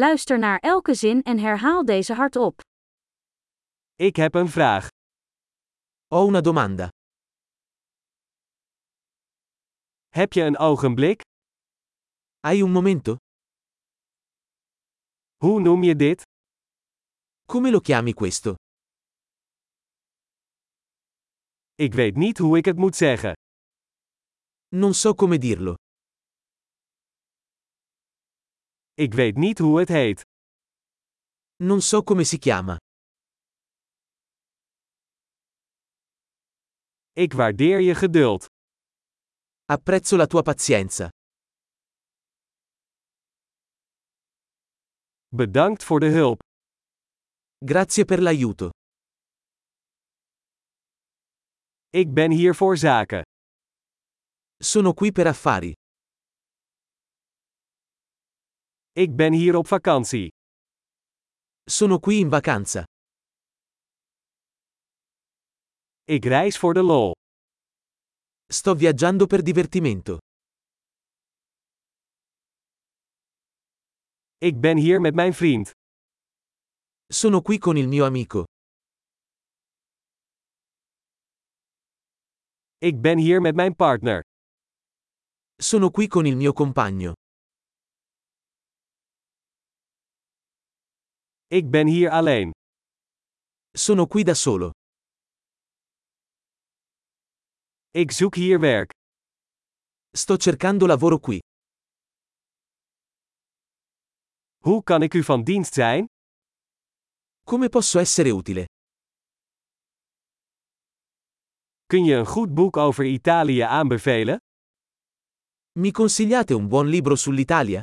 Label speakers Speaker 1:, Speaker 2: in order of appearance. Speaker 1: Luister naar elke zin en herhaal deze hardop.
Speaker 2: Ik heb een vraag.
Speaker 3: Ho una domanda.
Speaker 2: Heb je een ogenblik?
Speaker 3: Hai un momento?
Speaker 2: Hoe noem je dit?
Speaker 3: Come lo chiami questo?
Speaker 2: Ik weet niet hoe ik het moet zeggen.
Speaker 3: Non so come dirlo.
Speaker 2: Ik weet niet hoe het heet.
Speaker 3: Non so come si chiama.
Speaker 2: Ik waardeer je geduld.
Speaker 3: Apprezzo la tua pazienza.
Speaker 2: Bedankt voor de hulp.
Speaker 3: Grazie per l'aiuto.
Speaker 2: Ik ben hier voor zaken.
Speaker 3: Sono qui per affari.
Speaker 2: Ik ben hier op vakantie.
Speaker 3: Sono qui in vacanza.
Speaker 2: Ik reis voor de lol.
Speaker 3: Sto viaggiando per divertimento.
Speaker 2: Ik ben hier met mijn vriend.
Speaker 3: Sono qui con il mio amico.
Speaker 2: Ik ben hier met mijn partner.
Speaker 3: Sono qui con il mio compagno.
Speaker 2: Ik ben hier alleen.
Speaker 3: Sono qui da solo.
Speaker 2: Ik zoek hier werk.
Speaker 3: Sto cercando lavoro qui.
Speaker 2: Hoe kan ik u van dienst zijn?
Speaker 3: Come posso essere utile?
Speaker 2: Kun je een goed boek over Italië aanbevelen?
Speaker 3: Mi consigliate un buon libro sull'Italia?